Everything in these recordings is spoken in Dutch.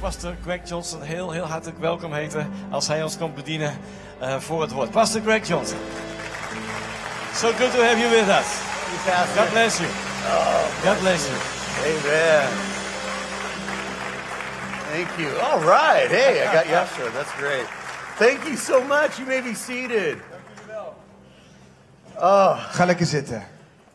pastor Greg Johnson heel, heel hartelijk welkom heten als hij ons komt bedienen eh, voor het woord. Pastor Greg Johnson. So good to have you with us. Thank you, God Pastor. Oh, bless you. God bless you. Amen. Thank you. All right. Hey, I got you after. That's great. Thank you so much. You may be seated. Ga lekker zitten.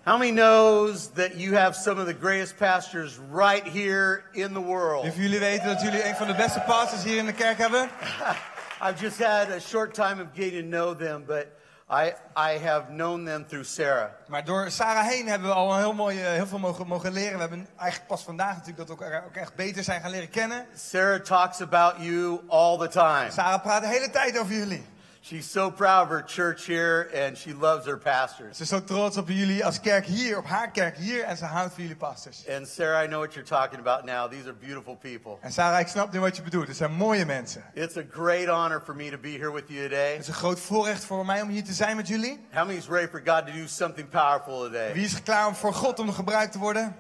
How many knows that you have some of the greatest pastors right here in the world? Of jullie weten dat jullie een van de beste pastors hier in de kerk hebben. I've just had a short time of getting to know them, but I I have known them through Sarah. Maar door Sarah heen hebben we al heel, mooi, eh, heel veel mogen, mogen leren. We hebben eigenlijk pas vandaag natuurlijk dat we elkaar ook echt beter zijn gaan leren kennen. Sarah talks about you all the time. Sarah praat de hele tijd over jullie. She's so proud of her church here and she loves her pastors. Ze is zo trots op jullie als kerk hier, op haar kerk hier. En ze houdt van jullie pastors. And Sarah, I know what you're talking about now. These are beautiful people. En Sarah, ik snap nu wat je bedoelt. Het zijn mooie mensen. It's a great honor for me to be here with you today. Het is een groot voorrecht voor mij om hier te zijn met jullie. How many is ready for God to do something powerful today? Wie is klaar om voor God om gebruikt te worden?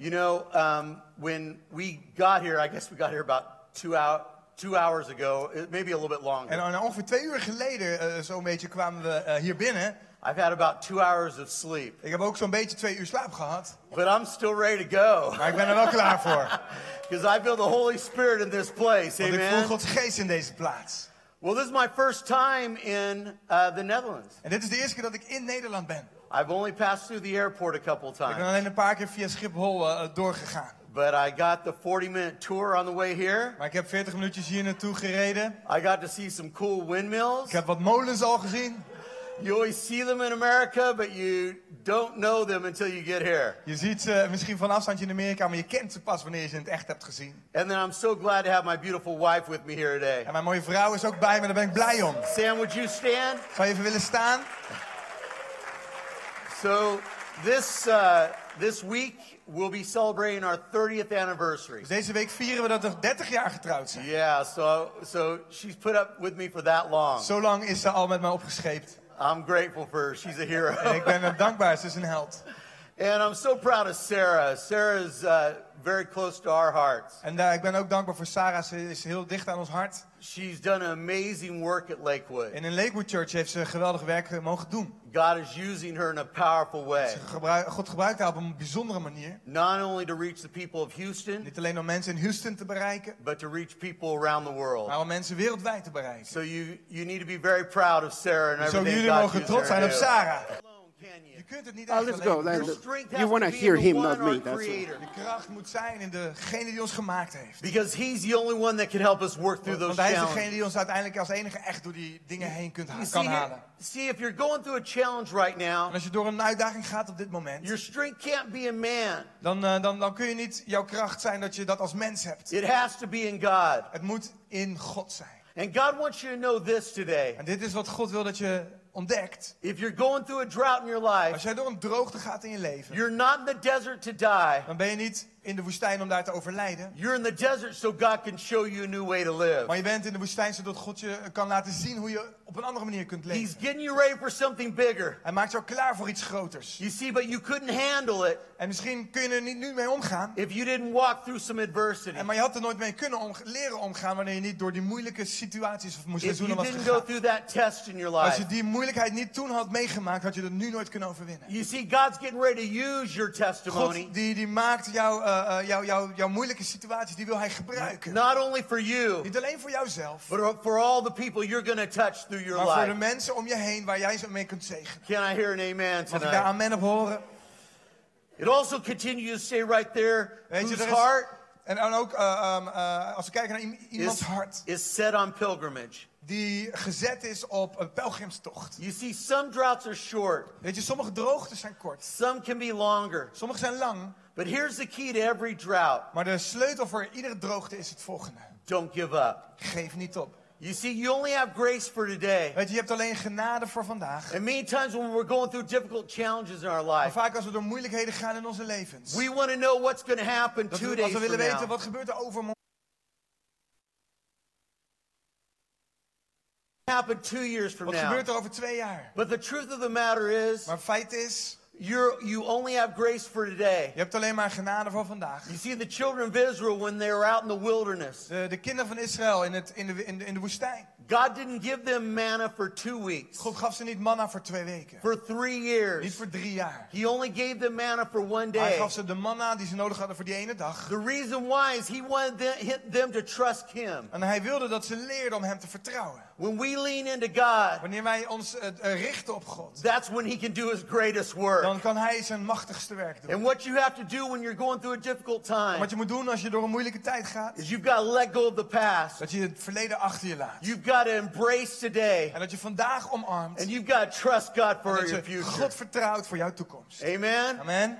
You know, um, when we got here, I guess we got here about two, hour, two hours ago, eh, maybe a little bit En longer. eh, ongeveer twee uur geleden, eh, zo'n beetje, kwamen we eh, hier binnen. I've had about two hours of sleep, Ik heb ook zo'n beetje twee uur slaap gehad. but I'm still ready to go Maar ik ben er wel klaar voor. because I feel the Holy Spirit in this place. Want ik voel Amen. Gods geest in deze plaats. Well, this is my first time in uh, the Netherlands. En dit is de eerste keer dat ik in Nederland ben. I've only passed through the airport a couple Ik ben times, alleen een paar keer via Schiphol eh, doorgegaan. but I got the 40 minute tour on the way here. Maar ik heb 40 minuutjes hier naartoe gereden. I got to see some cool windmills. Ik heb wat molens al gezien. You always see them in America, but you don't know them until you get here. Je ziet ze misschien van afstandje in Amerika, maar je kent ze pas wanneer je ze in het echt hebt gezien. And then I'm so glad to have my beautiful wife with me here today. En mijn mooie vrouw is ook bij me, daar ben ik blij om. Sam, would you stand? Zou je even willen staan? So this uh, this week we'll be celebrating our 30th anniversary. Dus deze week vieren we dat we 30 jaar getrouwd zijn. Yeah, so so she's put up with me for that long. Zo lang is ze al met mij opgescheept. I'm grateful for her. She's a hero. En ik ben haar dankbaar, ze is een held. And I'm so proud of Sarah. Sarah's uh, very close to our hearts. En daar ik ben ook dankbaar voor Sarah, ze is heel dicht aan ons hart. She's done amazing work at Lakewood. En in Lakewood Church heeft ze geweldig werk eh, mogen doen. God is using her in a powerful way, Ze gebruik- God gebruikt haar op een bijzondere manier. not only to reach the people of Houston, Niet alleen om mensen in Houston te bereiken, but to reach people around the world. maar om mensen wereldwijd te bereiken. So you you need to be very proud of Sarah and Zo everything jullie God mogen uses trots her zijn op to do. Sarah. Alone, can you? Je kunt het niet Oh, echt let's alleen go, doen. let's Your go. strength You has wanna to be hear in the him, one, not me, our that's all. Creator, De kracht moet zijn in degene die ons gemaakt heeft. because He's the only one that can help us work through those Want hij is degene challenges. die ons uiteindelijk als enige echt door die dingen heen kunt, You ha- see, kan here, halen. see, if you're going through a challenge right En now, als je door een uitdaging gaat op dit moment, your strength can't be in man. dan, eh, dan, dan kun je niet jouw kracht zijn dat je dat als mens hebt. It has to be in God. Het moet in God zijn. And God wants you to know this today. En dit is wat God wil dat je ontdekt. If you're going through a drought in your Als life, jij door een droogte gaat in je leven, you're not in the desert to die. dan ben je niet in de woestijn om daar te overlijden. You're in the desert so God can show you a new way to live. Maar je bent in de woestijn zodat God je kan laten zien hoe je op een andere manier kunt He's leven. getting you ready for something bigger. Hij maakt jou klaar voor iets groters. You see, but you couldn't handle it En misschien kun je er niet nu mee omgaan. if you didn't walk through some adversity. En maar je had er nooit mee kunnen omg- leren omgaan wanneer je niet door die moeilijke situaties of moest If you seizoenen was didn't go gegaan. through that test in your Als je life. die moeilijkheid niet toen had meegemaakt, had je dat nu nooit kunnen overwinnen. You see, God's getting ready to use your God testimony, die, die maakt jouw eh, eh, jou, jou, jouw moeilijke situaties, die wil hij gebruiken. not only for you, Niet alleen voor jouzelf, but for all the people you're going to touch through your maar voor life. de mensen om je heen waar jij ze mee kunt zegenen. Can I hear an amen Mag ik daar tonight? amen op horen? It also continues to say right there, Weet je, whose er heart is, en dan ook eh, ehm, eh, als we kijken naar iem- iemands is, hart is set on pilgrimage. die gezet is op een pelgrimstocht. You see, some droughts are short, Weet je, sommige droogtes zijn kort, some can be longer. sommige zijn lang, But here's the key to every drought maar de sleutel voor iedere droogte is het volgende. don't give up. Geef niet op. You see, you only have grace for today. Weet je, je hebt alleen genade voor vandaag. And many times when we're going through difficult challenges in our Maar life, vaak als we door moeilijkheden gaan in onze levens. we want to know what's going to happen Dat two we, days als we willen from weten, now. wat gebeurt er overmorgen? Happen two years from Wat now. gebeurt er over twee jaar? But the truth of the matter is, Maar feit is, You're, you only have grace for today. Je hebt alleen maar genade voor vandaag. You see, the children of Israel, when they were out in the wilderness, De, de kinderen van Israël in, het, in, de, in, de, in de woestijn. God didn't give them manna for two weeks, God gaf ze niet manna voor twee weken. for three Niet years. voor drie jaar. He only gave them manna for one Hij day. gaf ze de manna die ze nodig hadden voor die ene dag. The reason why is He wanted them, hit them to trust Him. En hij wilde dat ze leerden om hem te vertrouwen. When we lean into God, Wanneer wij ons eh, eh, richten op God, that's when He can do His greatest work. dan kan hij zijn machtigste werk doen. And what you have to do when you're going through a difficult time Wat je moet doen als je door een moeilijke tijd gaat, is you've got to let go of the past. dat je het verleden achter je laat. You've got to embrace today. En dat je vandaag omarmt. And En you've got to trust God for your dat je future. God vertrouwt voor jouw toekomst. Amen. Amen.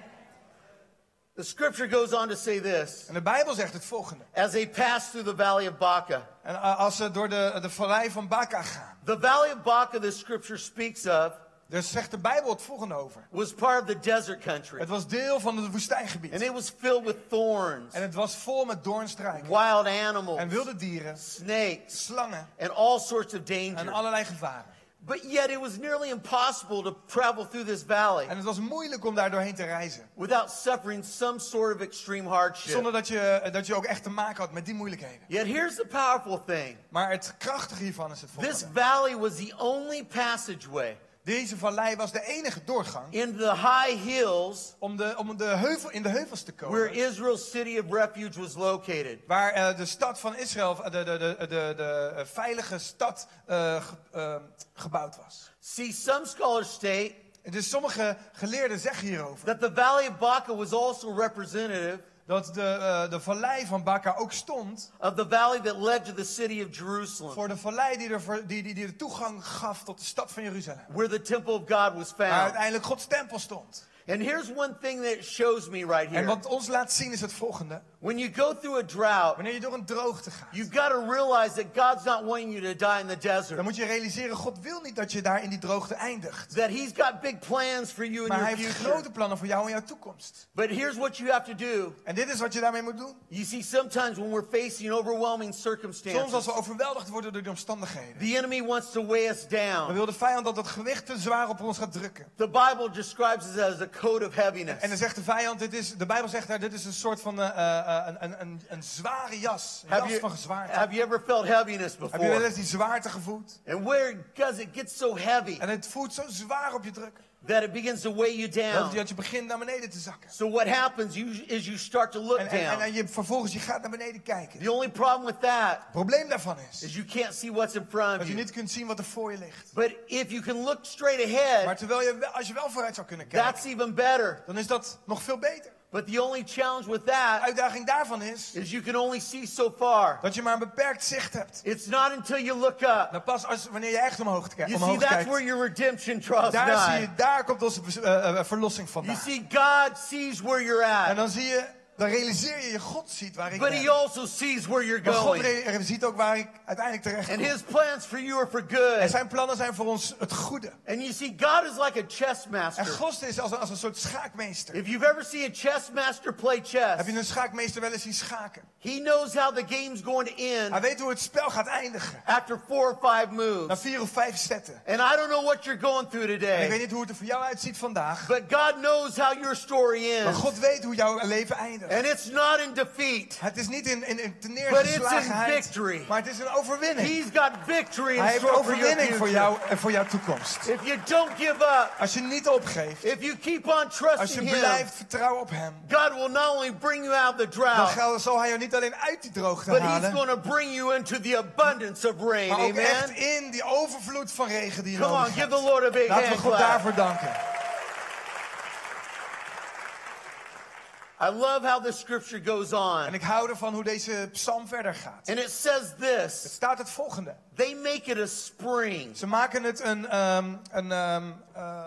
The scripture goes on to say this En de Bijbel zegt het volgende. as they pass through the valley of Baca. En eh, als ze door de, de vallei van Baca gaan, The valley of Baca, the scripture speaks of, daar zegt de Bijbel het volgende over. was part of the desert country. Het was deel van het And woestijngebied. it was filled with thorns, En het was vol met doornstruiken. wild En animals, wilde dieren, snakes, slangen and all sorts of en danger. allerlei gevaren. But yet it was nearly impossible to travel through this valley En het was moeilijk om daar doorheen te reizen. without suffering some sort of extreme hardship. Zonder dat je, eh, dat je ook echt te maken had met die moeilijkheden. Yet here's the powerful thing Maar het krachtige hiervan is het this volgende. valley was the only passageway Deze vallei was de enige doorgang into the high hills om, de, om de heuvel, in de heuvels te where komen. Israel's city of refuge was located. Waar eh, de stad van Israël, eh, de, de, de, de, de eh, veilige stad, eh, ge- eh, gebouwd was. See, some scholars state En Dus sommige geleerden zeggen hierover that the Valley of Baca was also representative dat de, eh, de vallei van Baca ook stond of the valley that led to the city of Jerusalem, voor de vallei die, er, voor- die, die, die de toegang gaf tot de stad van Jeruzalem. where the temple of God was Waar found. uiteindelijk Gods tempel stond. And here's one thing that it shows me right En here. wat ons laat zien is het volgende. When you go through a drought, Wanneer je door een droogte gaat, you've got to realize that God's not wanting you to die in the dan desert, moet je realiseren, God wil niet dat je daar in die droogte eindigt. that He's got big plans for you in Maar your hij heeft future. grote plannen voor jou en jouw toekomst. But here's what you have to do. En dit is wat je daarmee moet doen. You see, sometimes when we're facing overwhelming Soms als circumstances, we overweldigd worden door de omstandigheden. the enemy wants to weigh us Dan down. wil de vijand dat het gewicht te zwaar op ons gaat drukken. The Bible describes it as a coat of En dan heaviness. zegt de vijand, dit is, de Bijbel zegt daar, dit is een soort van eh, eh, eh, een, een, een, een zware jas. Een Have jas you, van zwaarte. have you ever felt heaviness Heb je wel before? eens die zwaarte gevoeld? And where does it get so heavy En het voelt zo zwaar op je drukken. that it begins to weigh you Dat, down? dat je begint naar beneden te zakken. So what happens you, is you start to look En, en, en, down. en je, vervolgens je gaat naar beneden kijken. The only problem with that Het probleem daarvan is is you can't see what's in front dat of je you. niet kunt zien wat er voor je ligt. But if you can look straight Maar ahead, terwijl je, wel- als je wel vooruit zou kunnen kijken, that's even better. dan is dat nog veel beter. But the only challenge with De that uitdaging daarvan is is you can only see so far. dat je maar een beperkt zicht hebt. It's not until you look up. Dan pas als, wanneer je echt omhoog, kijkt. You see, omhoog that's where kijkt. your redemption draws Daar, zie nigh. je, daar komt onze eh, eh, verlossing You vandaan. see, God sees where you're En at, dan zie je, dan realiseer je, je God ziet waar ik but He ben. also sees where you're Maar God going. re- re- ziet ook waar ik uiteindelijk terecht And kom. His plans for you are for En good. zijn plannen zijn voor ons het goede. And you see, God is like a chess En master. God is als een, als een soort schaakmeester. If you've ever seen a chess master play Heb chess, je een schaakmeester wel eens zien schaken? he knows how the game's going to Hij end weet hoe het spel gaat eindigen. after four or five Na moves. vier of vijf zetten. And I don't know what you're going through En ik weet today, niet hoe het er voor jou uitziet vandaag. but God knows how your story Maar ends. God weet hoe jouw leven eindigt. And it's not in defeat. Het is niet in, in, in But it's in teneergeslagenheid, victory. maar het is een overwinning. He's got victory in Hij heeft store for your overwinning voor future. jou en voor jouw toekomst. If you don't give up, Als je niet opgeeft, if you keep on als je trusting Him, blijft vertrouwen op hem, God will not only bring you out of the dan drought, gaat- zal hij jou niet alleen uit die droogte but He's halen, going to bring you into the abundance of rain. maar ook echt Amen. in die overvloed van regen die je Come on, nodig give hebt. the Lord a big Laten we hand God clap. daarvoor danken. I love how the scripture goes En on. ik hou ervan hoe deze psalm verder gaat. And it says Het this staat het volgende. they make it a spring. Ze maken het een, ehm, een, ehm, eh,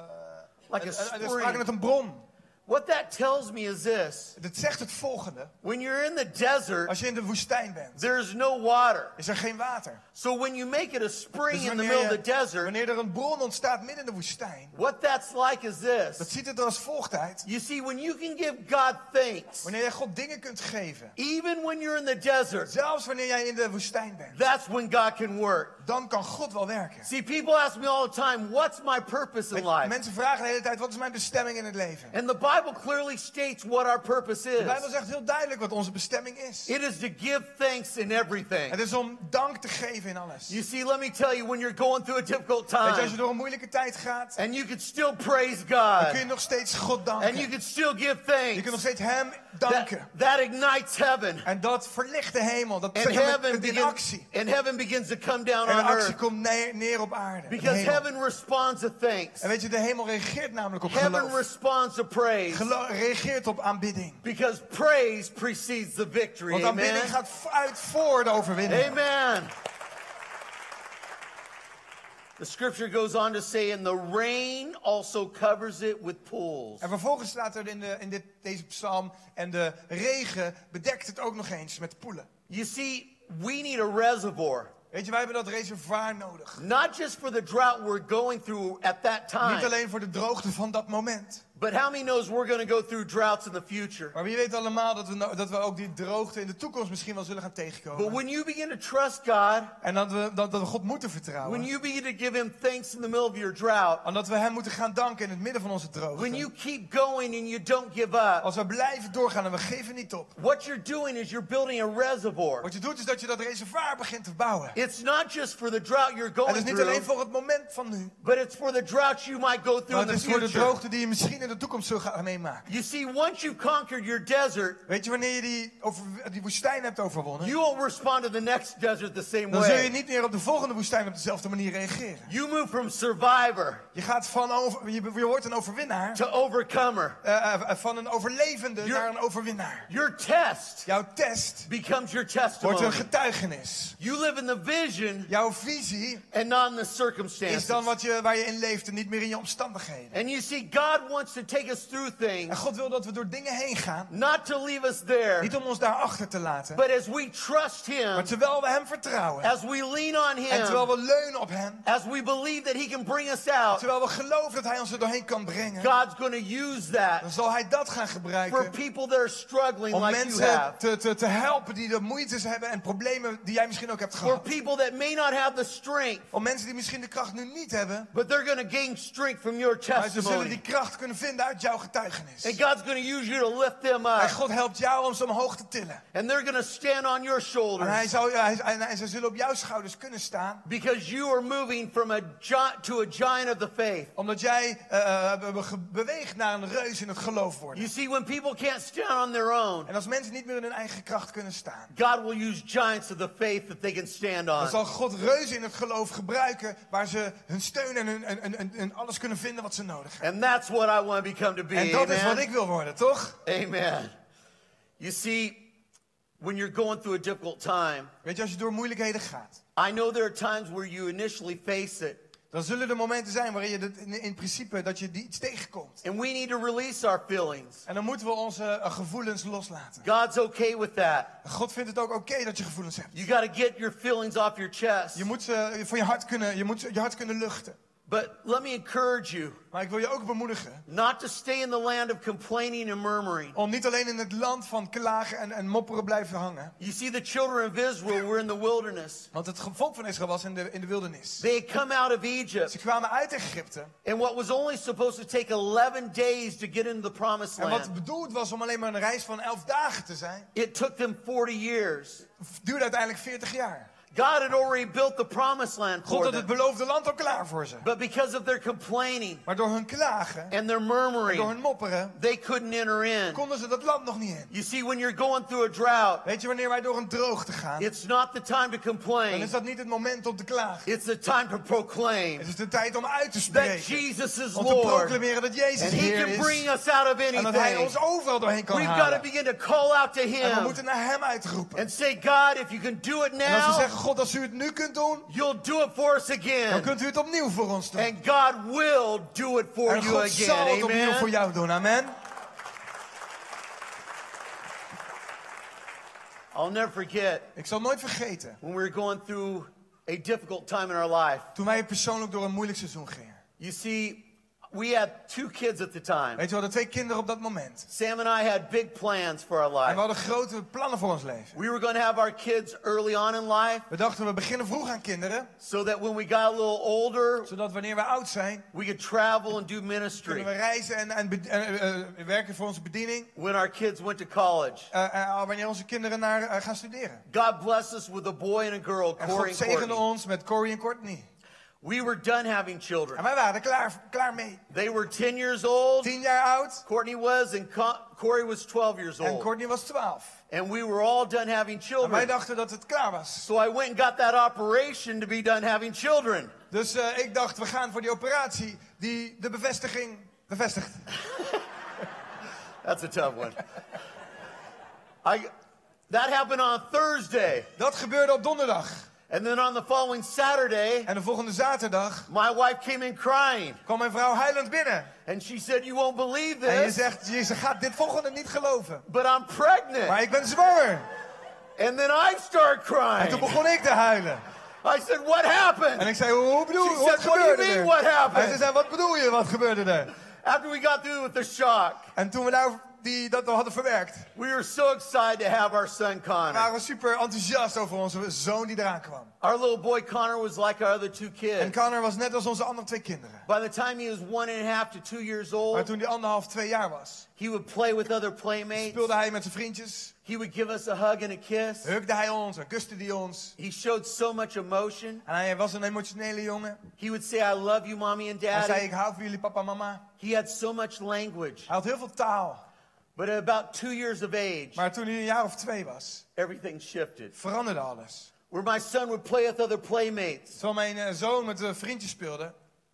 Like a een- een- ze spring. maken het een bron. What that tells me is this Dat zegt het volgende. when you're in the desert, Als je in de woestijn bent, there's no water. is er geen water. So when you make it a spring Dus in the middle of the wanneer, je- desert, wanneer er een bron ontstaat midden in de woestijn, what that's like is dat this. ziet het er als volgt uit. You see, when you can give God thanks, Wanneer je God dingen kunt geven, even when you're in the desert, zelfs wanneer jij in de woestijn bent, that's when God can work. dan kan God wel werken. See, people ask me all the time, what's my purpose in life? Mensen vragen de hele tijd, wat is mijn bestemming in het leven? And the Bible clearly states what our purpose De is Bijbel zegt heel duidelijk wat onze bestemming is. it is to give thanks in everything. Het is om dank te geven in alles. You see, let me tell you, when you're going through a difficult Weet je, als je time, door een moeilijke tijd gaat, and you can still praise kun je God, nog steeds God and you danken. can still give Je kunt nog thanks, steeds Hem danken. that, that ignites heaven. En dat verlicht de hemel. Dat And zet hem heaven, in- in begins, actie. and heaven begins to come down En on actie earth. komt neer, neer op aarde. de Because hemel. heaven responds to thanks. En weet je, de hemel reageert namelijk op Heaven geloof. responds to praise. Gelo- reageert op aanbidding. Because praise precedes the victory. Want Amen. aanbidding gaat v- uit voor de overwinning. Amen. The scripture goes on to say, and the rain also covers it with pools. En vervolgens staat er in, de, in dit, deze psalm... en de regen bedekt het ook nog eens met poelen. You see, we need a reservoir, Weet je, wij hebben dat reservoir nodig. not just for the drought we're going through at that Niet time, alleen voor de droogte van dat moment. but how many knows we're going to go through droughts in the future? Maar wie weet allemaal dat we, no- dat we ook die droogte in de toekomst misschien wel zullen gaan But tegenkomen. when you begin to trust God, En dat we, dat, dat we God moeten when vertrouwen. you begin to give Him thanks in the middle of your drought, En dat we Hem moeten gaan danken in het midden van onze when droogte. you keep going and you don't give up, Als we blijven doorgaan en we geven niet op. what you're doing is you're building a reservoir. Wat je doet is dat je dat reservoir begint te bouwen. En It's not just for the drought you're dat going is niet alleen through, voor het moment van nu. but it's for the droughts you might go through Maar in het the is voor de future. droogte die je misschien in de toekomst zult gaan meemaken. You see, once you've conquered your desert, Weet je, wanneer je die, over, die woestijn hebt overwonnen... you won't respond to the next desert the same dan zul je way. niet meer op de volgende woestijn op dezelfde manier reageren. You move from survivor Je, gaat van over, je, je wordt een overwinnaar. to overcomer. Eh, eh, van een overlevende Your- naar een overwinnaar. Your test Jouw test becomes your wordt een testimony. getuigenis. You live in the vision Jouw visie and not in the is circumstances. dan wat je, waar je in leeft en niet meer in je omstandigheden. And you see, God wants to take us through En things, God wil dat we door dingen heen gaan. not to leave us there, Niet om ons daar achter te laten. but as we trust Him, Maar terwijl we hem vertrouwen. as we lean on En terwijl Him, we leunen op hem. as we believe that He can bring us out, Terwijl we geloven dat hij ons er doorheen kan brengen. God's going to use Dan that zal hij dat gaan for gebruiken. people that are struggling Om like you mensen have, te, te, te helpen die de moeites hebben en problemen die jij misschien ook hebt for gehad. people that may not have the strength, Om mensen die misschien de kracht nu niet hebben. but they're going to gain strength from your Maar ze zullen die testimony. kracht kunnen vinden uit jouw getuigenis. And God's going to use you to lift them En up, God helpt jou om ze omhoog te tillen. and they're going to stand on your En, hij shoulders zou, hij, en, en ze zullen op jouw schouders kunnen staan. because you are moving from a giant to a giant of the faith. Omdat jij eh, be- be- ge- beweegt naar een reus in het geloof worden. You see, when people can't stand on their own, En als mensen niet meer in hun eigen kracht kunnen staan. God will use giants of the faith that they can stand Dan on. zal God reuzen in het geloof gebruiken waar ze hun steun en, hun, en, en- en, en alles kunnen vinden wat ze nodig hebben. And that's what I want to become to be. En dat is wat ik Amen. wil worden, toch? Amen. You see, when you're going through a difficult time, Weet je, als je door moeilijkheden gaat, I know there are times where you initially face it, dan zullen er momenten zijn waarin je dat in, in principe dat je die iets tegenkomt. and we need to release our feelings. En dan moeten we onze eh, gevoelens loslaten. God's okay with that. God vindt het ook oké dat je gevoelens hebt. You got to get your feelings off your chest. Je moet ze eh, van je hart kunnen, je moet ze- je hart kunnen luchten. But let me encourage you Maar ik wil je ook bemoedigen not to stay in the land of complaining and murmuring. om niet alleen in het land van klagen en, en mopperen blijven hangen. You see, the children of Israel were in the wilderness. Want het ge- volk van Israël was in de, in de wildernis. They had come out of Egypt. Ze kwamen uit Egypte. And what was only supposed to take 11 days to get into the promised En wat land, bedoeld was om alleen maar een reis van elf dagen te zijn, it took them 40 years. duurde uiteindelijk 40 jaar. God had already built the promised land God for had het them. beloofde land al klaar voor ze. But because of their complaining Maar door hun klagen, and their door hun murmuring, mopperen, they couldn't enter in. konden ze dat land nog niet in. You see, when you're going through a drought, Weet je, wanneer wij door een droogte gaan, it's not the time to dan complain, is dat niet het moment om te klagen. it's the time to proclaim Het is de tijd om uit te that spreken. Jesus is Om te Lord proclameren dat Jezus and He Heer can bring is. us out of En dat Hij anything. ons overal doorheen kan We've got to halen. begin to call out to En we Him moeten naar Hem uitroepen. and say, God, if you can do it En als we now, zeggen, God, als u het nu kunt doen, you'll do it for us dan again. kunt u het opnieuw voor ons doen. And God will do it for En you God zal again. het opnieuw voor Amen. jou doen, amen. I'll never forget Ik zal nooit vergeten when we were going through a difficult time in our life. toen wij persoonlijk door een moeilijk seizoen gingen. You see, we had two kids at the time. Weet je, we hadden twee kinderen op dat moment. Sam and I had big plans for our En we life. hadden grote plannen voor ons leven. We were going to have our kids early on in life We dachten, we beginnen vroeg aan kinderen, so that when we got a little older, zodat wanneer we oud zijn, we could travel and do kunnen ministry. we reizen en, en, bed- en, eh, eh, werken voor onze bediening. When our kids went to college, eh, eh, wanneer onze kinderen naar, eh, gaan studeren. God blessed us with a boy and a girl, En Corey God and zegende Courtney. ons met Corey en Courtney. We were done having En children. wij waren er klaar, klaar mee. They were 10 years old. Tien jaar oud Courtney was, and Co- Corey was 12 years en old. Courtney was twaalf. And we were all done having En wij children. dachten dat het klaar was. So I went and got that operation to be done having children. Dus eh, ik dacht, we gaan voor die operatie die de bevestiging bevestigt. That's a tough one. I, that happened on Thursday. Dat gebeurde op donderdag. And then on the following Saturday, En de volgende zaterdag my wife came in crying. kwam mijn vrouw huilend binnen. And she said, You won't believe En je this, zegt, je ze gaat dit volgende niet geloven. but I'm pregnant. Maar ik ben zwanger. And then I start En toen crying. begon ik te huilen. I said, What En happened? ik zei, hoe, hoe bedoel She je, wat said, what do you gebeurde mean, er? what happened? En ze zei, wat bedoel je, wat gebeurde er? After we got through with the shock, En toen we daar die, dat al hadden verwerkt, we were so excited to have our son waren Connor. we super enthousiast over onze zoon die eraan kwam. Our little boy Connor was like our other two En kids. Connor was net als onze andere twee kinderen. By the time he was one and a half to two years Maar old, toen hij anderhalf, twee jaar was, he would play with other playmates. speelde hij met zijn vriendjes, He would give us a hug and a kiss. hukte hij ons en kuste hij ons. He showed so much emotion. En hij was een emotionele jongen. He would say, I love you, mommy and Hij zei, daddy. ik hou van jullie papa en mama. He had so much language. Hij had heel veel taal. But at about two years of age, Maar toen hij een jaar of twee was, everything shifted. veranderde alles. Where my son would play with other playmates. Terwijl mijn eh, zoon met zijn vriendjes speelde,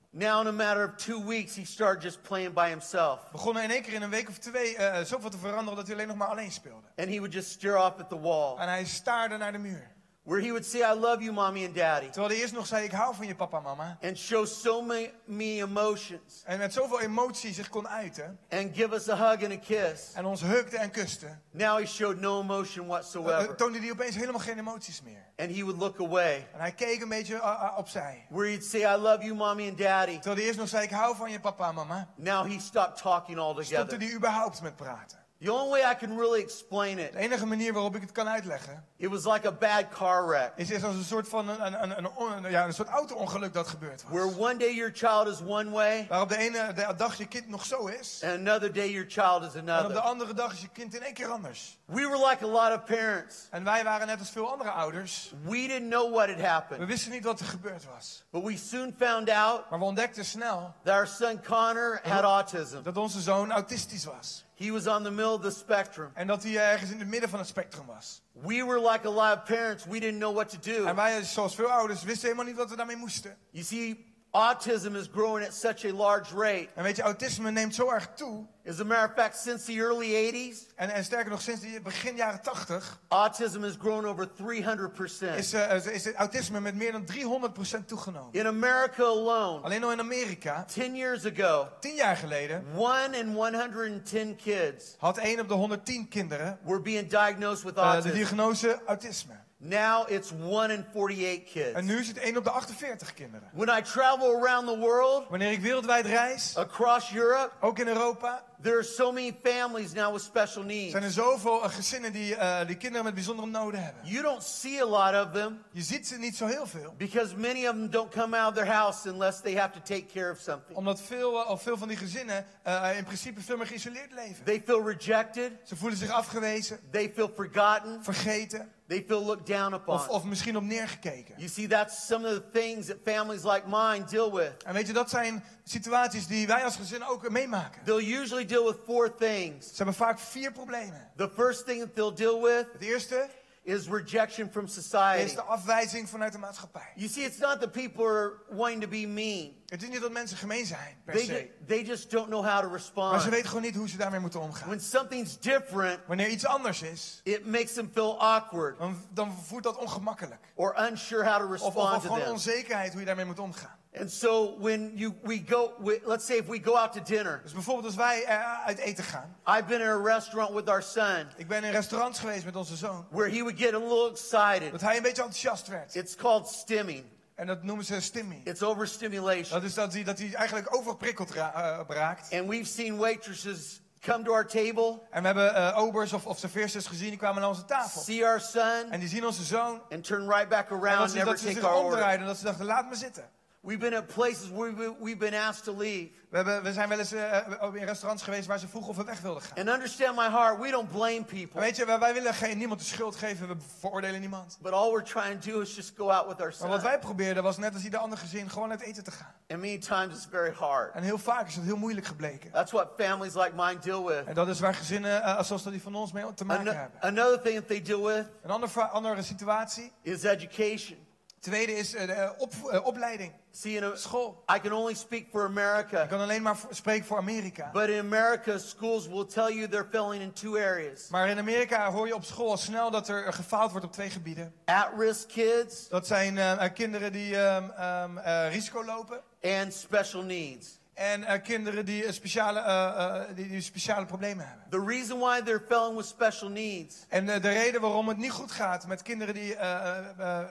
Now, in a matter of two weeks, he started just playing by himself. begon hij in één keer in een week of twee eh, zoveel te veranderen dat hij alleen nog maar alleen speelde. And he would just stare off at the wall. En hij staarde naar de muur. Where he would say, I love you, mommy and daddy. Terwijl hij eerst nog zei, ik hou van je papa en mama. And show so many, many emotions. En met zoveel emotie zich kon uiten. And give us a hug and a kiss. En ons hukte en kuste. Now he showed no emotion eh, whatsoever. toonde hij opeens helemaal geen emoties meer. And he would look away. En hij keek een beetje eh, eh, opzij. Where he'd say, I love you, mommy and daddy. Terwijl hij eerst nog zei, ik hou van je papa en mama. Now he stopped talking Stopte altogether. hij überhaupt met praten. The only way I can really explain it, De enige manier waarop ik het kan uitleggen, it was like a bad car wreck. is, is als een soort van een, een, een, een, on- ja, een soort auto-ongeluk dat gebeurd was. Where one day your child is one way, Waarop de ene de- dag je kind nog zo is, and another day your child is en op de another. andere dag is je kind in één keer anders. We were like a lot of parents. En wij waren net als veel andere ouders. We didn't know what had We happened, wisten niet wat er gebeurd was. but we soon found out Maar we ontdekten snel that our son Connor had autism. dat onze zoon autistisch was. He was on the middle of the spectrum. En dat hij eh, ergens in het midden van het spectrum was. We were like a lot of parents. We didn't know what to do. En wij, zoals veel ouders, wisten helemaal niet wat we daarmee moesten. You see, autism is growing at such a large rate. En weet je, autisme neemt zo erg toe. As a matter of fact, since the early 80s, En, en sterker nog, sinds die- begin jaren 80 autism has grown over 300%. is, eh, is het autisme met meer dan 300% toegenomen. In America alone, Alleen al in Amerika, 10 years ago, 10 jaar geleden, 1 in 110 kids had 1 op de 110 kinderen were being diagnosed with eh, de autism. diagnose autisme. Now it's 1 in 48 En kids. nu is het 1 op de 48 kinderen. When I travel around the world, Wanneer ik wereldwijd reis, across Europe, ook in Europa, there are so many families now with special needs. zijn er zoveel eh, gezinnen die, eh, die kinderen met bijzondere noden hebben. You don't see a lot of them Je ziet ze niet zo heel veel. because many of them don't come out of their house unless they have to take care of something. Omdat veel, eh, of veel van die gezinnen eh, in principe veel meer geïsoleerd leven. They feel rejected, Ze voelen zich afgewezen, they feel forgotten, vergeten they feel looked down of, upon. of misschien op neergekeken. You see, that's some of the things that families like mine deal with. En weet je, dat zijn situaties die wij als gezin ook meemaken. They'll usually deal with four things. Ze hebben vaak vier problemen. The first thing that they'll deal with Het eerste is rejection from is society. de afwijzing vanuit de maatschappij. You see, it's not that people are wanting to be mean. Het is niet dat mensen gemeen zijn, per They, ju- se. they just don't know how to Maar ze respond. weten gewoon niet hoe ze daarmee moeten omgaan. When something's different, Wanneer iets anders is, it makes them feel awkward dan, dan voelt dat ongemakkelijk. or unsure how to Of, of, of respond to gewoon them. onzekerheid hoe je daarmee moet omgaan. And so when you we go, we, let's say if we go out to dinner, Dus bijvoorbeeld als wij eh, uit eten gaan. I've been in a restaurant with our son Ik ben in restaurants geweest met onze zoon. where he would get a little excited. Dat hij een beetje enthousiast werd. It's called stimming. En dat noemen ze stimming. It's overstimulation. Dat is dat hij, dat hij eigenlijk overprikkeld ra- eh, raakt. And we've seen waitresses come to our table, En we hebben eh, obers of, of serveersters gezien, die kwamen naar onze tafel. see our son, En die zien onze zoon. and turn right back En dat around, ze, never dat ze take zich our order. omdraaiden. Dat ze dachten, laat me zitten. We've been at places where we- we've been asked to leave. We, hebben, we zijn wel eens eh, in restaurants geweest waar ze vroegen of we weg wilden gaan. And understand my heart, we don't blame En people. weet je, wij, wij willen geen, niemand de schuld geven. We veroordelen niemand. But all we're trying to do is just go out with our Maar wat son. wij probeerden was net als ieder ander gezin gewoon uit eten te gaan. And many times it's very hard. En heel vaak is dat heel moeilijk gebleken. That's what families like mine deal with. En dat is waar gezinnen eh, zoals dat die van ons mee te Ano- maken hebben. Another thing that they deal with Een ander, va- andere situatie. is education. Tweede is eh, de, eh, op, eh, opleiding, See, in a, school. I can only speak for Ik America, kan alleen maar voor- spreken voor Amerika. but in America, schools will tell you they're failing in two areas Maar in Amerika hoor je op school al snel dat er eh, gefaald wordt op twee gebieden. at risk kids Dat zijn eh, eh, kinderen die ehm, ehm, eh, risico lopen. and special needs. En eh, kinderen die, eh, speciale, eh, eh, die, die speciale problemen hebben. The reason why they're failing with special needs En eh, de reden waarom het niet goed gaat met kinderen die eh, eh, eh,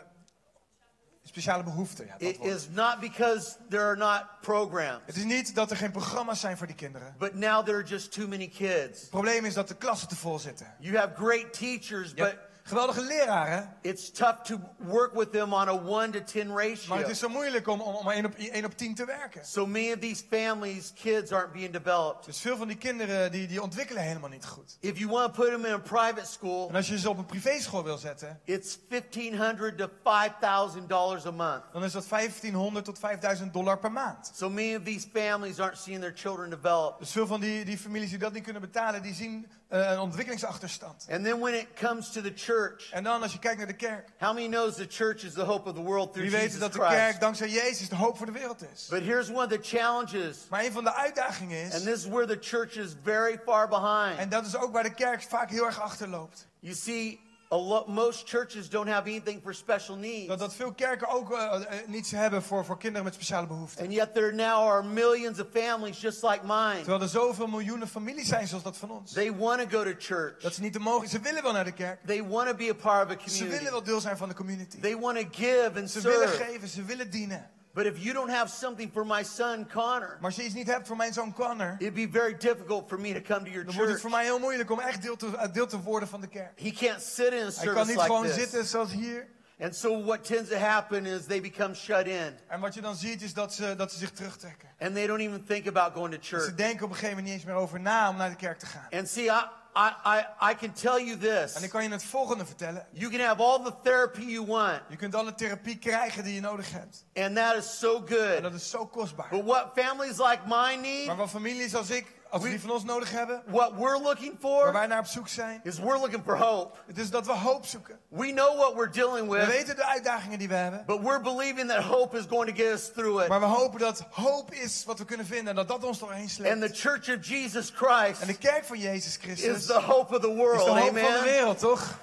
speciale behoeften. Ja, dat it woord. is not because there are not programs, Het is niet dat er geen programma's zijn voor die kinderen. but now there are just too many kids. Het probleem is dat de klassen te vol zitten. You have great teachers, Je but hebt geweldige leraren, it's tough to work with them on a 1 to 10 maar het ratio. is zo moeilijk om, om, om 1, op, 1 op 10 te werken. So many of these families, kids aren't being developed. Dus veel van die kinderen die, die ontwikkelen helemaal niet goed. If you want to put them in a private En school, als je ze op een privéschool wil zetten, it's $1,500 to $5,000 a month. dan is dat 1500 tot 5000 dollar per maand. So many of these families aren't seeing their children develop. Dus veel van die, die families die dat niet kunnen betalen, die zien eh, een ontwikkelingsachterstand. And then when it comes to the church, En dan als je kijkt naar de kerk, how many knows the church is the hope of the world through wie weet Jesus dat de kerk Christ? dankzij Jezus de hoop voor de wereld is. But here's one of the challenges, Maar een van de uitdagingen and is, this is where the church is very far en behind. dat is ook waar de kerk vaak heel erg achterloopt, You see, a lo- most churches don't have anything for special needs. dat, dat veel kerken ook eh, eh, niets hebben voor, voor kinderen met speciale behoeften. And yet there now are millions of families just like mine. Terwijl er zoveel miljoenen families zijn zoals dat van ons. They want to go to church. Dat ze niet de mogen. Ze willen wel naar de kerk. They want to be a part of a Ze willen community. wel deel zijn van de community. They want to give and Ze willen serve. geven, ze willen dienen. But if you don't have something for my son Connor, Maar als je iets niet hebt voor mijn zoon Connor, it'd be very difficult for me to come to your dan wordt het church. voor mij heel moeilijk om echt deel te, eh, deel te worden van de kerk. He can't sit in a Hij kan service niet like gewoon this. zitten zoals hier. And so what tends to happen is they become shut in En wat je dan ziet is dat ze, dat ze zich terugtrekken. and they don't even think about going to Ze church. denken op een gegeven moment niet eens meer over na om naar de kerk te gaan. And see, I, I, I, I can tell you En this. ik kan je het volgende vertellen. You can have all the therapy you want, Je kunt alle therapie krijgen die je nodig hebt. and that is so En dat good. is zo kostbaar. But what families like mine need, Maar wat families als ik, als die van ons nodig hebben, what we're looking waar for, wij naar op zoek zijn, is we're looking for hope. Het is dat we hoop zoeken. We know what we're dealing We with, weten de uitdagingen die we hebben. but we're believing that hope is going to get us through it. Maar we hopen dat hoop is wat we kunnen vinden. En dat dat ons doorheen And the sleept. church of Jesus En Christ de kerk van Jezus Christus is is the de hope of the world. hoop van de Amen. wereld, toch?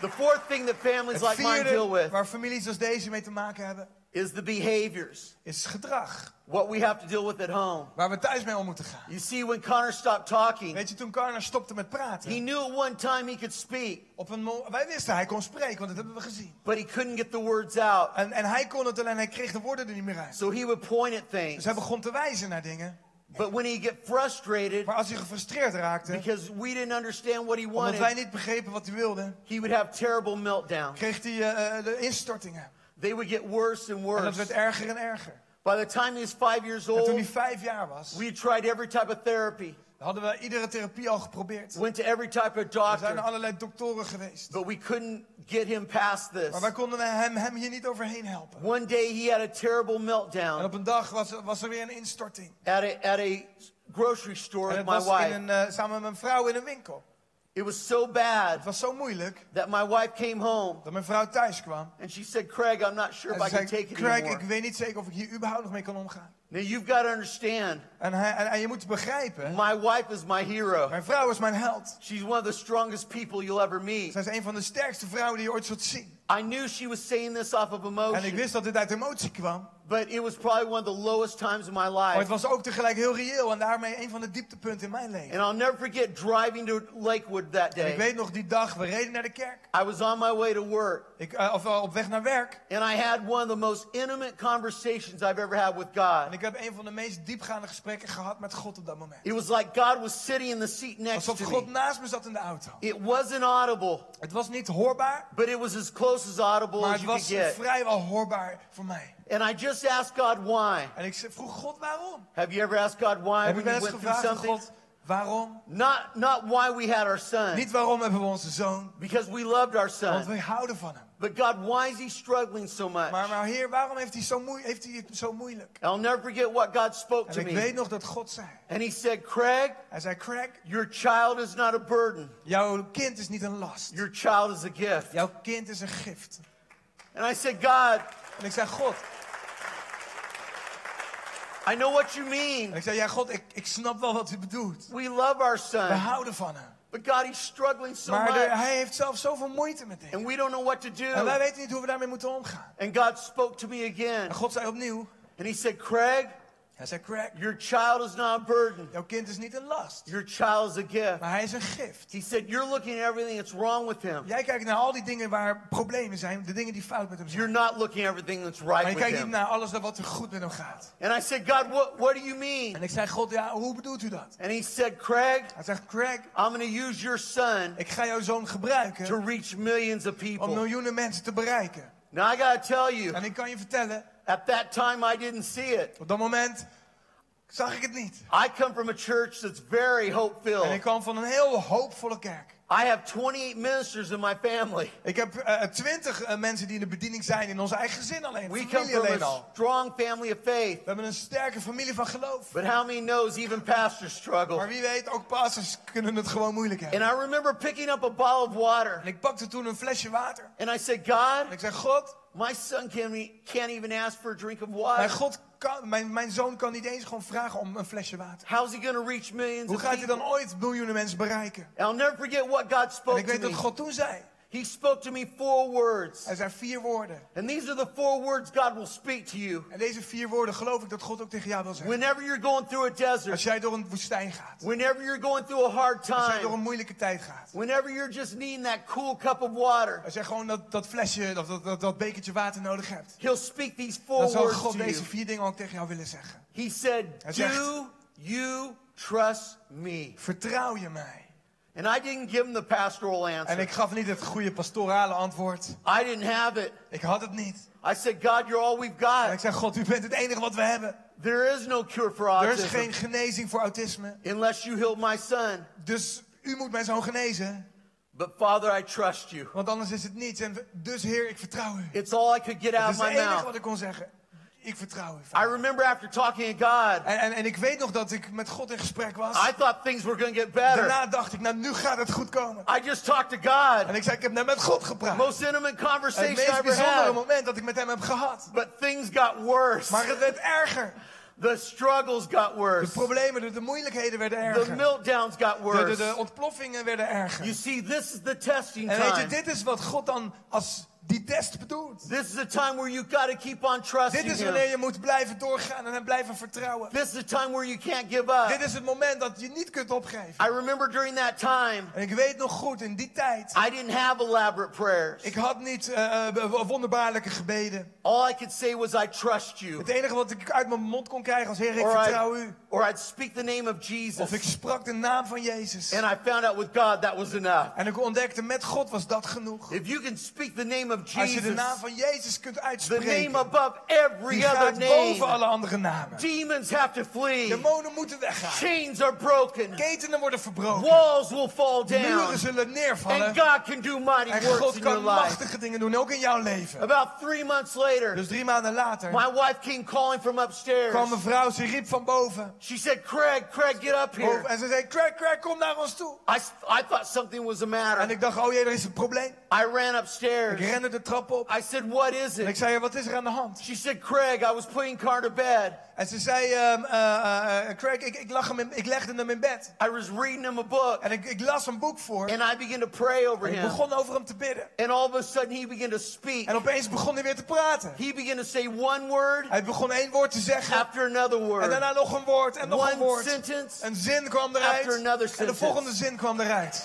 The fourth thing that families Het like mine deal vierde with waar families als deze mee te maken hebben, is the behaviors, is gedrag. what we have to deal with at home. Waar we thuis mee om moeten gaan. You see, when Connor stopped talking, Weet je, toen Carner stopte met he praten, knew at one time he could speak, op een mo- wij wisten hij kon spreken, want dat hebben we gezien. but he couldn't get the words out. En, en hij kon het alleen, hij kreeg de woorden er niet meer uit. So he would point at Dus things. hij begon te wijzen naar dingen. But when he get frustrated Maar als hij gefrustreerd raakte, because we didn't understand what he omdat wij wanted, niet begrepen wat hij wilde, he would have terrible meltdowns. kreeg hij eh, eh, de instortingen. They would get worse and En dat worse. werd erger en erger. By the time he was five years En toen old, hij vijf jaar was, we tried every type of therapy, hadden we iedere therapie al geprobeerd. went to every type of Er zijn doctor, allerlei doktoren geweest. but we couldn't get him past this. Maar wij konden hem, hem hier niet overheen helpen. One day he had a terrible En meltdown op een dag was, was er weer een instorting. at a, at a grocery store En with het my was in wife. een, eh, samen met mijn vrouw in een winkel. It was so Het bad was zo moeilijk that my wife came home dat mijn vrouw thuis kwam. and she said, Craig, I'm not sure if En ze I can zei, take it Craig, ik anymore. weet niet zeker of ik hier überhaupt nog mee kan omgaan. Now you've got to understand, En, hij, en, en je moet begrijpen, my wife is my hero. mijn vrouw is mijn held. She's one of the strongest people you'll ever meet. Zij is een van de sterkste vrouwen die je ooit zult zien. I knew she was saying this off of En ik emotion, wist dat dit uit emotie kwam. but it was probably one of the lowest times of my Maar het life. was ook tegelijk heel reëel en daarmee een van de dieptepunten in mijn leven. And I'll never forget driving to Lakewood that En day. ik weet nog die dag, we reden naar de kerk. I was on my way to work, Ik, eh, of eh, op weg naar werk. and I had one of the most intimate conversations I've ever had with En God. ik heb een van de meest diepgaande gesprekken gehad met God op dat moment. It was like God was sitting in the seat next Alsof to God me. naast me zat in de auto. It wasn't audible, Het was niet hoorbaar, but it was as close as audible maar as het you could was get. vrijwel hoorbaar voor mij. And I just asked God why. En ik vroeg God waarom. Have you ever asked God why Heb when ik wel you went eens through gevraagd aan something? God waarom? Not not why we had our son, Niet waarom hebben we onze zoon, because we loved our want son. we houden van hem. But God, why is he struggling so much? Maar, maar Heer, waarom heeft hij, zo moe- heeft hij het zo moeilijk? I'll never forget what God spoke En to ik me. weet nog dat God zei. And he said, Craig, Hij zei, Craig, your child is not a burden. jouw kind is niet een last. Your child is a gift. Jouw kind is een gift. And I said, God, En ik zei, God. I know what you En mean. ik zei, ja God, ik, ik snap wel wat u bedoelt. We love our We son. houden van hem. But God, he's struggling so Maar de- much. hij heeft zelf zoveel moeite met dit. And we don't know what to do. En wij weten niet hoe we daarmee moeten omgaan. And God spoke to me again. En God zei opnieuw. And he said, Craig, Hij zei, Craig, your child is not a burden. jouw kind is niet een last. Your child is a gift. Maar hij is een gift. He said, You're looking at everything that's wrong with him. Jij kijkt naar al die dingen waar problemen zijn. De dingen die fout met hem You're zijn. not looking at everything that's Maar right je with kijkt niet him. naar alles wat er goed met hem gaat. And I said, God, what, what do you mean? En ik zei, God, ja, hoe bedoelt u dat? And he said, Craig, Hij zegt, Craig, I'm going to use your son ik ga jouw zoon to gebruiken reach millions of om people. miljoenen mensen te bereiken. Now, I got to tell you, En ik kan je vertellen, at that time, I didn't see it. op dat moment zag ik het niet. I come from a church that's very hope En ik filled. kwam van een heel hoopvolle kerk. I have 28 ministers in my family. Ik heb eh, twintig mensen die in de bediening zijn in ons eigen gezin alleen. We come familie from alleen a al. strong family of faith. We hebben een sterke familie van geloof. But how many knows even pastors struggle? Maar wie weet, ook pastors kunnen het gewoon moeilijk hebben. And I remember picking up a bottle of water. En ik pakte toen een flesje water. And I said, En God, ik zei, God, my son can't, e- can't even ask for a drink of mijn, water. God kan, mijn, mijn zoon kan niet eens gewoon vragen om een flesje water. How's he going to reach millions Hoe of gaat hij dan people? ooit miljoenen mensen bereiken? And I'll never forget what God En spoke ik to weet dat me. God toen zei. He spoke to me four words. Er zijn vier woorden. And these are the four words God will speak to you En deze vier woorden geloof ik dat God ook tegen jou wil zeggen. whenever you're going through a Als desert, jij door een woestijn gaat. whenever you're going through a hard Als jij door een time, moeilijke tijd gaat. whenever you're just needing that cool cup of water. Als jij gewoon dat, dat flesje, of dat, dat, dat bekertje water nodig hebt. He'll speak these Dan four zou words God to you. deze vier dingen ook tegen jou willen zeggen. He said, Hij zegt- Do you trust me? Vertrouw je mij? And I didn't give him the pastoral En answer. ik gaf niet het goede pastorale antwoord. I didn't have it. Ik had het niet. I said, God, you're all we've En got. ik zei, God, u bent het enige wat we hebben. There is no cure for Er is geen autism genezing voor autisme. unless you heal my son. Dus u moet mijn zoon genezen. But Father, I trust you. Want anders is het niets. En we- dus heer, ik vertrouw u. It's all I could get Dat out is of het my enige wat mouth. ik kon zeggen. Ik vertrouw u. I Vader. remember after talking to God, En, en, en ik weet nog dat ik met God in gesprek was. I thought things were going to get better. Daarna dacht ik, nou nu gaat het goed komen. I just talked to En God. ik zei, ik heb net met God gepraat. Most intimate Het conversation I meest ever bijzondere had. moment dat ik met hem heb gehad. But things got worse. Maar het werd erger. The struggles got De worse. problemen, de, de moeilijkheden werden The erger. De, meltdowns got de, worse. de ontploffingen werden You erger. see, this is the testing En weet je, time. dit is wat God dan als die test bedoelt. This is the time where you got to keep on Dit trusting is wanneer Him. je moet blijven doorgaan en hem blijven vertrouwen. This is the time where you can't give up. Dit is het moment dat je niet kunt opgeven. I remember during that time, En ik weet nog goed, in die tijd, I didn't have elaborate prayers. ik had niet eh, eh, wonderbaarlijke gebeden. All I could say was, I trust you. Het enige wat ik uit mijn mond kon krijgen was, Heer, ik Or, vertrouw I, u. or I'd speak the name of Jesus. Of ik sprak de naam van Jezus. And I found out with God that was enough. En ik ontdekte, met God was dat genoeg. If you can speak the name of Als je de Jesus, naam van Jezus kunt the name uitspreken, above every die other gaat name, boven alle andere namen. demons have to flee. Demonen moeten weggaan. Chains are broken. Ketenen worden verbroken. Walls will fall down. Muren zullen And neervallen. God can do mighty En works God in your kan life. machtige dingen doen, ook in jouw leven. About three months later, Dus drie maanden later my wife came calling from Oh, upstairs. kwam een vrouw, ze riep van boven. She said, Craig, Craig, get up here. boven en ze zei, Craig, Craig, kom naar ons toe. I, s- I thought something was the En matter. ik dacht, oh jee, er is een probleem. I ran Ik upstairs. ren rende de trap op. I said, What is En ik it? zei, wat is er aan de hand? She said, Craig, I was putting Car to bed. En ze zei, ehm, eh, eh, eh, Craig, ik, ik, lag hem in- ik legde hem in bed. I was reading him a book. En ik, ik las een boek voor. En And I began to pray over ik him. begon over hem te bidden. And all of a sudden, he began to speak. En opeens begon hij weer te praten. He began to say one word Hij begon één woord te zeggen. after another En word. daarna nog een woord en nog een One woord. sentence. Een zin kwam After eruit. another En de sentence. volgende zin kwam eruit.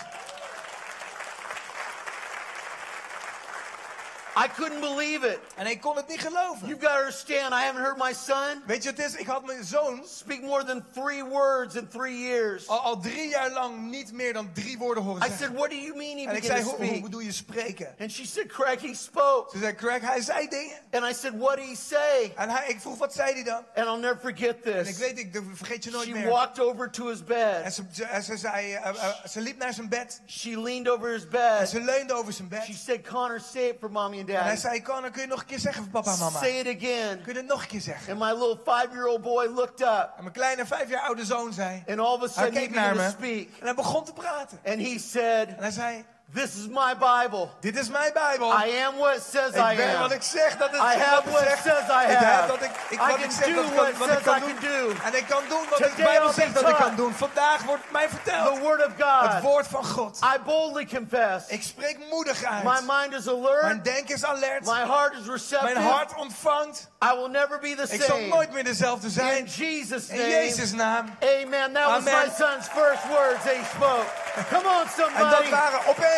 I couldn't believe it. En ik kon het niet geloven. You've got to understand, I haven't heard my son Weet je wat het is? Ik had mijn zoon speak more than three words in three years. al, al drie jaar lang niet meer dan drie woorden horen I zeggen. said, What do you mean he en ik began zei, to hoe, hoe speak? bedoel je spreken? And she said, Craig, he spoke. Ze zei, Craig, hij zei dingen. And I said, What did he say? En hij, ik vroeg, wat zei hij dan? And I'll never forget En ik this. weet, ik vergeet je nooit She meer. walked over to his En bed. ze, ze, en ze zei, eh, eh, ze liep naar zijn bed. She leaned over his En bed. ze leunde over zijn bed. She En said, Connor, say it for mommy and hij daddy. zei, Connor, kun je nog een keer zeggen voor papa en mama? Kun Say it again. je het nog een keer zeggen? And my little five year old boy looked up. En mijn kleine vijf jaar oude zoon zei, And all of a hij sudden, he keek naar began me. to speak. En hij begon te praten. And he said, En hij zei, This is my Bible. dit is mijn Bijbel. I am what it says I Ik ben wat am. ik zeg, dat is I have wat what ik zeg. says I Ik heb have. dat ik, ik I wat can ik zeg, do dat ik what kan, wat says ik kan I doen. can do. En ik kan doen wat de Today Bijbel I'll be zegt dat ik kan taught. doen. Vandaag wordt mij The verteld Word of het God. woord van God. I boldly confess. Ik spreek moedig My uit. mind is Mijn alert. denken is alert. My heart is Mijn receptive. hart ontvangt. I will never be the Ik zal same. nooit meer dezelfde In zijn. Jesus' In name. Jezus' naam. Amen. That was Amen. my son's first words that he spoke. Come on, En dat somebody. waren opeens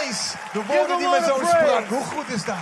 de woorden the die mijn Lord zoon a praise. sprak. Hoe goed is dat?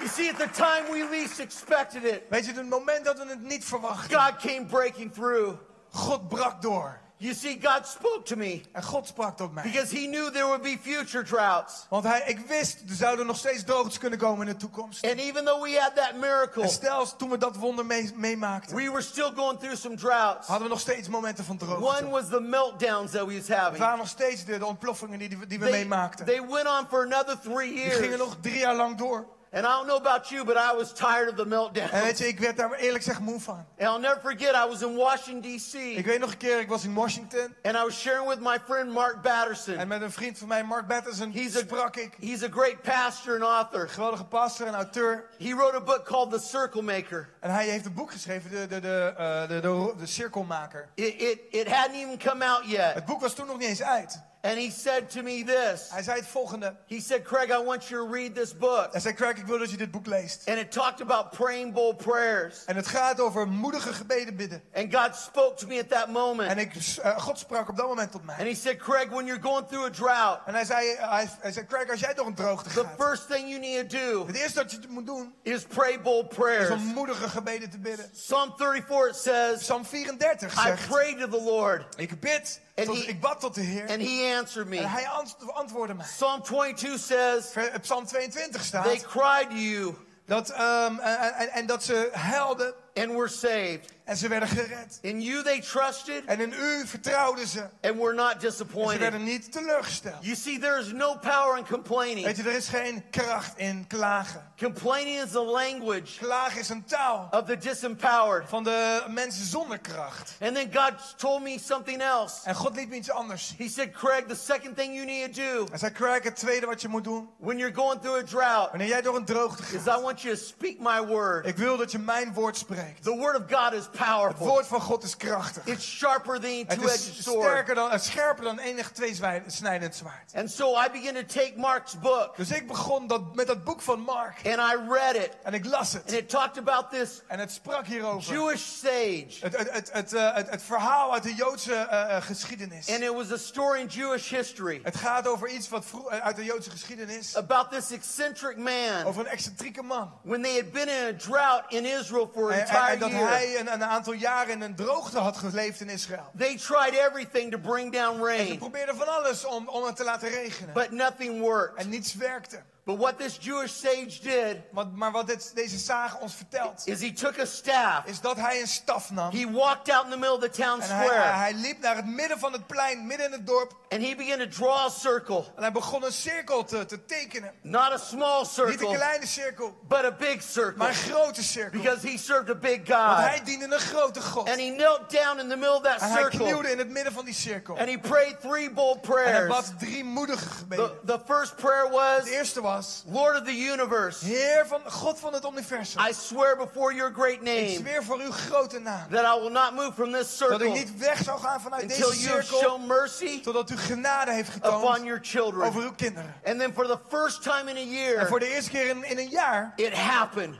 You see, at the time we least expected it, Weet je, het moment dat we het niet verwachten. God came breaking through. God brak door. You see, God spoke to me En God sprak tot mij. because He knew there would be future droughts. Want hij, ik wist, er zouden nog steeds droogtes kunnen komen in de toekomst. And even though we had that miracle, En stel, toen we dat wonder mee- meemaakten, we were still going through some droughts. hadden we nog steeds momenten van droogte. One was the meltdowns that we was having. Het waren nog steeds de, de ontploffingen die, die, die we They, meemaakten. they went on for another three die years. gingen nog drie jaar lang door. And I don't know about you, but I was tired of the En weet meltdowns. je, ik werd daar eerlijk gezegd moe van. And I'll never forget, I was in Washington, Ik D.C., weet nog een keer, ik was in Washington. and I was sharing with my friend Mark En Batterson. met een vriend van mij, Mark Batterson, He's a, sprak ik. he's a great pastor and author. Geweldige pastor en auteur. He wrote a book called The Circle Maker. En hij heeft een boek geschreven, de, de, de, eh, de, de, de Cirkelmaker. It, it, it hadn't even come out Het yet. boek was toen nog niet eens uit. And he said to me this. Hij zei het volgende. He said, Craig, I want you to read this book. Hij zei, Craig, ik wil dat je dit boek leest. And it talked about praying bold prayers. En het gaat over moedige gebeden bidden. And God spoke to me at that En moment. ik, eh, God sprak op dat moment tot mij. And he said, Craig, when you're going through a drought, En hij zei, eh, hij, hij zei Craig, als jij door een droogte the gaat, first thing you need to do het eerste dat je moet doen, is pray bold is prayers. om moedige gebeden te bidden. Psalm 34, it says, Psalm 34 I zegt, prayed to the Lord, ik bid, En tot, hij- ik bad tot de Heer, and he answered me. en hij ant- antwoordde mij. Psalm 22 says, Ver- op Psalm 22 They staat, cried to you dat, ehm, en, en- en dat ze huilden and were saved. en ze werden gered. In you they trusted En in u vertrouwden ze, en and were not ze werden disappointed. niet teleurgesteld. You see, there is no power in complaining. Weet je, er is geen kracht in klagen. Complaining is the language Klagen is een taal of the disempowered. van de mensen zonder kracht. And then God told me something else. En God liet me iets anders zien. He said, Craig, the second thing you need to do Hij zei, Craig, het tweede wat je moet doen, when you're going through a drought wanneer jij door een droogte gaat, is I want you to speak my word. ik wil dat je mijn woord spreekt. The word of God is Het powerful. woord van God is krachtig. It's sharper than a Het two-edged is sword. sterker dan, eh, scherper dan enig tweesnijdend zwaard. And so I began to take Mark's book Dus ik begon dat, met dat boek van Mark and I read it. en ik las And het. it talked about this En het sprak hierover. Jewish sage. Het, het, het, het, eh, het, het verhaal uit de Joodse eh, eh, geschiedenis. And it was a story in Jewish history Het gaat over iets wat vroeg, eh, uit de Joodse geschiedenis. about this eccentric man Over een excentrieke man. when they had been in a drought in Israel for an En, en- entire en dat year. hij een, een aantal jaren in een droogte had geleefd in Israël. They tried everything to bring down Ze rain, probeerden van alles om, om het te laten regenen. but nothing worked. En niets werkte. But what this Jewish sage did Wat, maar wat dit, deze zaag ons vertelt, is he took a staff. is dat hij een staf nam. He walked out in the middle of the town En hij, hij, square hij liep naar het midden van het plein, midden in het dorp. and he began to draw a circle, En hij begon een cirkel te, te tekenen. not a small Niet een circle, kleine cirkel, but a big maar circle een grote cirkel. Want because he served a big God. hij diende een grote And God. En he knelt down in the middle of that hij circle knielde in het midden van die cirkel. and En he prayed three bold hij prayers. bad drie moedige The, gebeden. the first prayer Het was, eerste was. Lord of the universe, Heer van God van het universum. I swear before your great Ik name zweer voor uw grote naam. that I will not move from this Dat ik circle niet weg zou gaan vanuit until deze you have shown cirkel. mercy Totdat u genade heeft upon getoond your children. over uw kinderen. And then for the first time in a En year, voor de eerste keer in, in een jaar it happened.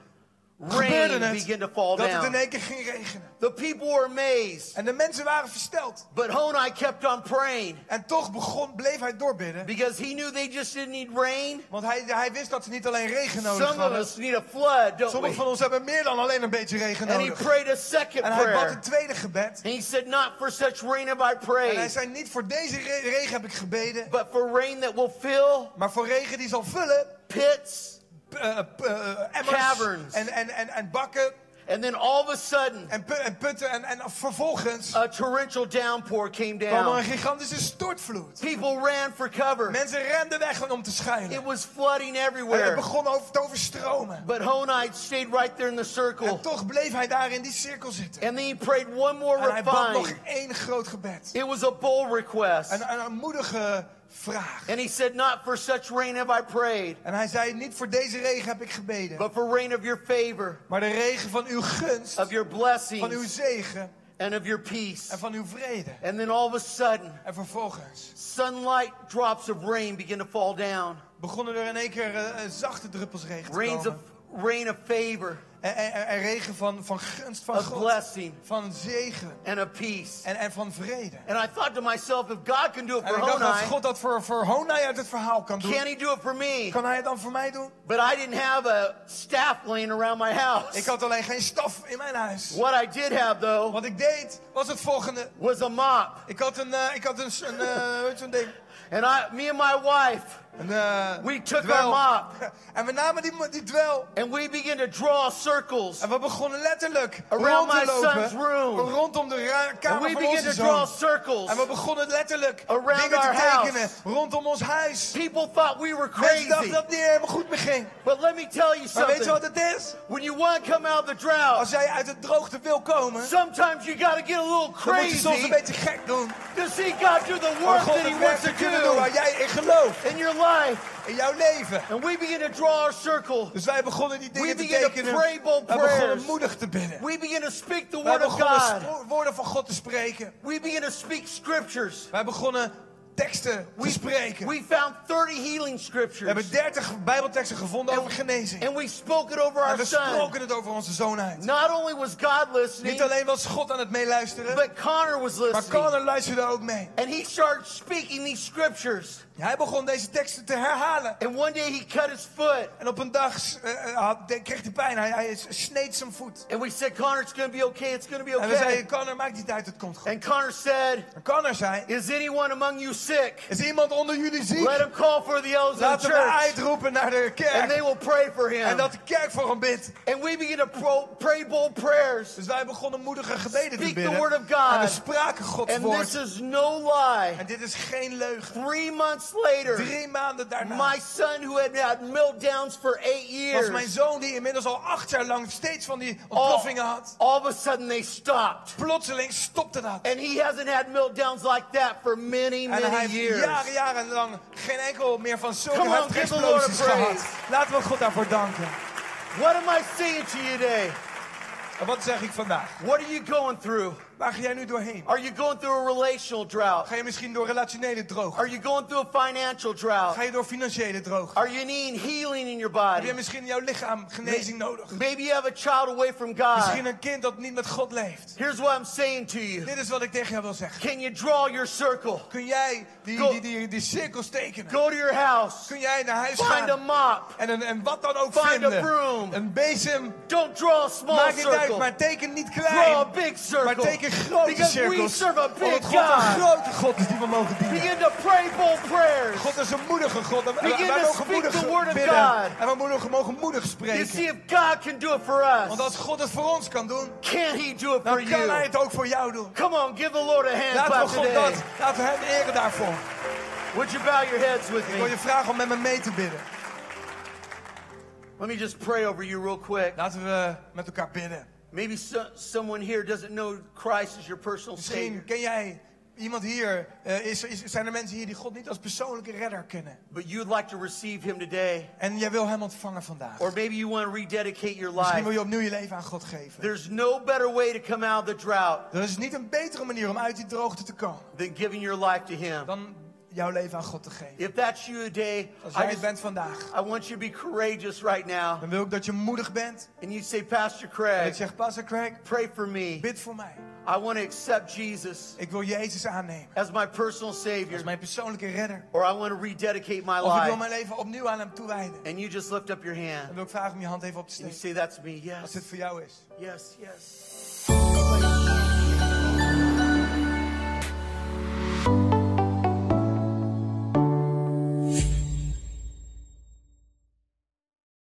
Rain gebeurde het began to fall dat het in down. één keer ging regenen. The people were amazed, En de mensen waren versteld. but Honai kept on praying En toch begon, bleef hij doorbidden. because he knew they just didn't need rain. Want hij, hij wist dat ze niet alleen regen nodig Some of hadden. us need a flood, don't Sommigen we? van ons hebben meer dan alleen een beetje regen And he nodig. prayed a second En hij bad prayer. een tweede gebed. And he said, Not for such rain have I En hij prayed, zei, niet voor deze re- regen heb ik gebeden. but for rain that will fill Maar voor regen die zal vullen. pits. p- eh, p- eh, Emmers. Caverns. En, en, en, en bakken. And then all of a sudden, En, pu- en putten. En, en vervolgens a torrential downpour came kwam er een down. gigantische stortvloed. People ran for cover. Mensen renden weg om te It schuilen. was flooding En het everywhere. begon over te overstromen. But Honai stayed right there in the circle. En toch bleef hij daar in die cirkel zitten. And then he prayed one more En hij bad nog refine. één groot gebed. It was a bold request. Een, een, een moedige vraag. And he said, Not for such rain have I prayed, En hij zei, niet voor deze regen heb ik gebeden. but for rain of your favor, Maar de regen van uw gunst, of your van uw blessings, zegen and of your peace. en van uw vrede. And then all of a sudden, En vervolgens sunlight drops of rain begin to fall down. begonnen er in één keer eh, eh, zachte druppels regen te Rains of komen. rain of favor, En, en- en- en regen van, van gunst van of God, blessing, van zegen and of peace. en, en van vrede. And I thought to myself, if God can do it En for ik dacht, als Honai, God dat voor, voor Honai uit het verhaal kan doen, can he do it for me? kan hij het dan voor mij doen? But I didn't have a staff laying around my Ik house. had alleen geen staf in mijn huis. What I did have, though, Wat ik deed, was het volgende. was a mop. Ik had een, eh, ik had een, s- een eh, weet je, zo'n ding. And I, me and my wife, Een, eh, We took dwel. our En we namen die, die dwel. and we began to draw circles. En we begonnen letterlijk Around rond te my lopen. son's room. Rondom de ra- And kamer we van began onze to draw zoon. circles. En we begonnen letterlijk Around dingen te our house. tekenen rondom ons huis. People thought we were Mensen crazy. dachten dat het niet helemaal goed meer ging. But let me tell you Maar weet je wat something. het is? When you want to come out of the drought, Als jij uit het droogte wil komen, Sometimes you gotta get a little dan moet je soms crazy een beetje gek doen. to see God do the Om work God that He het werk wants te to kunnen doen waar do jij in gelooft, in your life. in jouw leven. And we begin to draw our circle. Dus wij begonnen die dingen te begin to tekenen. pray bold Wij begonnen prayers. moedig te bidden. We begin to speak the Wij Word of begonnen God. spro- woorden van God te spreken. We begin to speak scriptures. Wij begonnen teksten te We, spreken. we found 30 healing We scriptures. hebben 30 Bijbelteksten gevonden over genezing. And we spoke it over En our we son. sproken het over onze zoon uit. Not only was God listening, Niet alleen was God aan het meeluisteren, but Connor was maar listening. Connor luisterde ook mee. And he started speaking these scriptures. Hij begon deze teksten te herhalen. And one day he cut his foot. En op een dag eh, eh, had- kreeg hij pijn. Hij, hij sneed zijn voet. And we said, Connor, it's gonna be okay. It's gonna be En we zeiden, okay. Connor, maakt niet uit, het komt goed. And Connor said, En Connor zei, Is anyone among you sick? is iemand onder jullie ziek? Let him call for the elders of the Laten we church, uitroepen naar de and they kerk. will pray for En him. dat de kerk voor hem bidt. And we begin to pro- pray bold prayers. Dus wij begonnen moedige gebeden te Speak the bidden. word of God. En we spraken Gods And this woord. is no lie. En dit is geen leugen. Three months later, Drie maanden daarna my son, who had had meltdowns for eight was mijn years, zoon die inmiddels al acht jaar lang steeds van die all, ontploffingen had. all of a sudden they stopped. Plotseling stopte dat. And he hasn't had meltdowns like that for many, En hij many heeft years. jaren, jarenlang geen enkel meer van zulke Come on, heftige give the Lord a explosies gehad. praise. Laten we God daarvoor danken. What am I saying to you today? En wat zeg ik vandaag? What are you going through? Waar ga jij nu doorheen? Are you going through a relational drought? Ga je misschien door relationele droog? Are you going through a financial drought? Ga je door financiële droog? Are you needing healing in your Heb body? je misschien in jouw lichaam genezing nodig? Maybe you have a child away from Misschien God. een kind dat niet met God leeft. Here's what I'm saying to you. Dit is wat ik tegen jou wil zeggen. Can you draw your circle? Kun jij die, Go. die, die, die cirkels tekenen? Go to your house. Kun jij naar huis Find a gaan? mop. En, een, en wat dan ook Find a vinden. broom. Een bezem. Don't draw a small Maakt niet uit, circle. maar teken niet Draw a klein. big Maar circle. teken grote Because we cirkels. serve a omdat big God een God. grote God is die we mogen dienen. Begin to pray bold prayers. God is een moedige God. En Begin wij to mogen speak moedig the word of bidden. God. En we mogen, mogen moedig You spreken. see, if God can do it for Want us, als God het voor ons kan doen, can He do it for dan kan Hij you? het ook voor jou doen. Come on, give the Lord a hand Laten we clap God today. dat, laten we Hem eren daarvoor. Would you bow your heads with Ik wil me? je vragen om met me mee te bidden. Let me just pray over you real quick. Laten we met elkaar bidden. Maybe so, someone here doesn't know Christ as your personal Misschien Savior. ken jij iemand hier, eh, is, is, zijn er mensen hier die God niet als persoonlijke redder kennen? but you'd like to receive Him today, En jij wil hem ontvangen vandaag. or maybe you want to rededicate your Misschien wil life. je opnieuw je leven aan God geven. There's no better way to come out of the drought Er is niet een betere manier om uit die droogte te komen than giving your life to Him. dan jouw leven aan God te geven. If that's you today, Als jij I, het just, bent vandaag, I want you to be courageous right now. dan wil ik dat je moedig bent. And you say, Pastor En ik Craig, zeg, Pastor Craig, pray for me. bid voor mij. I want to accept Jesus Ik wil Jezus aannemen as my Oh, personal als Savior, mijn persoonlijke redder. or I want to rededicate my Of ik wil life. mijn leven opnieuw aan hem toewijden. And you just lift up your Dan hand wil ik vragen om je hand even op te and you steken. say, That's me. Als Yes, dit voor jou is. yes, yes.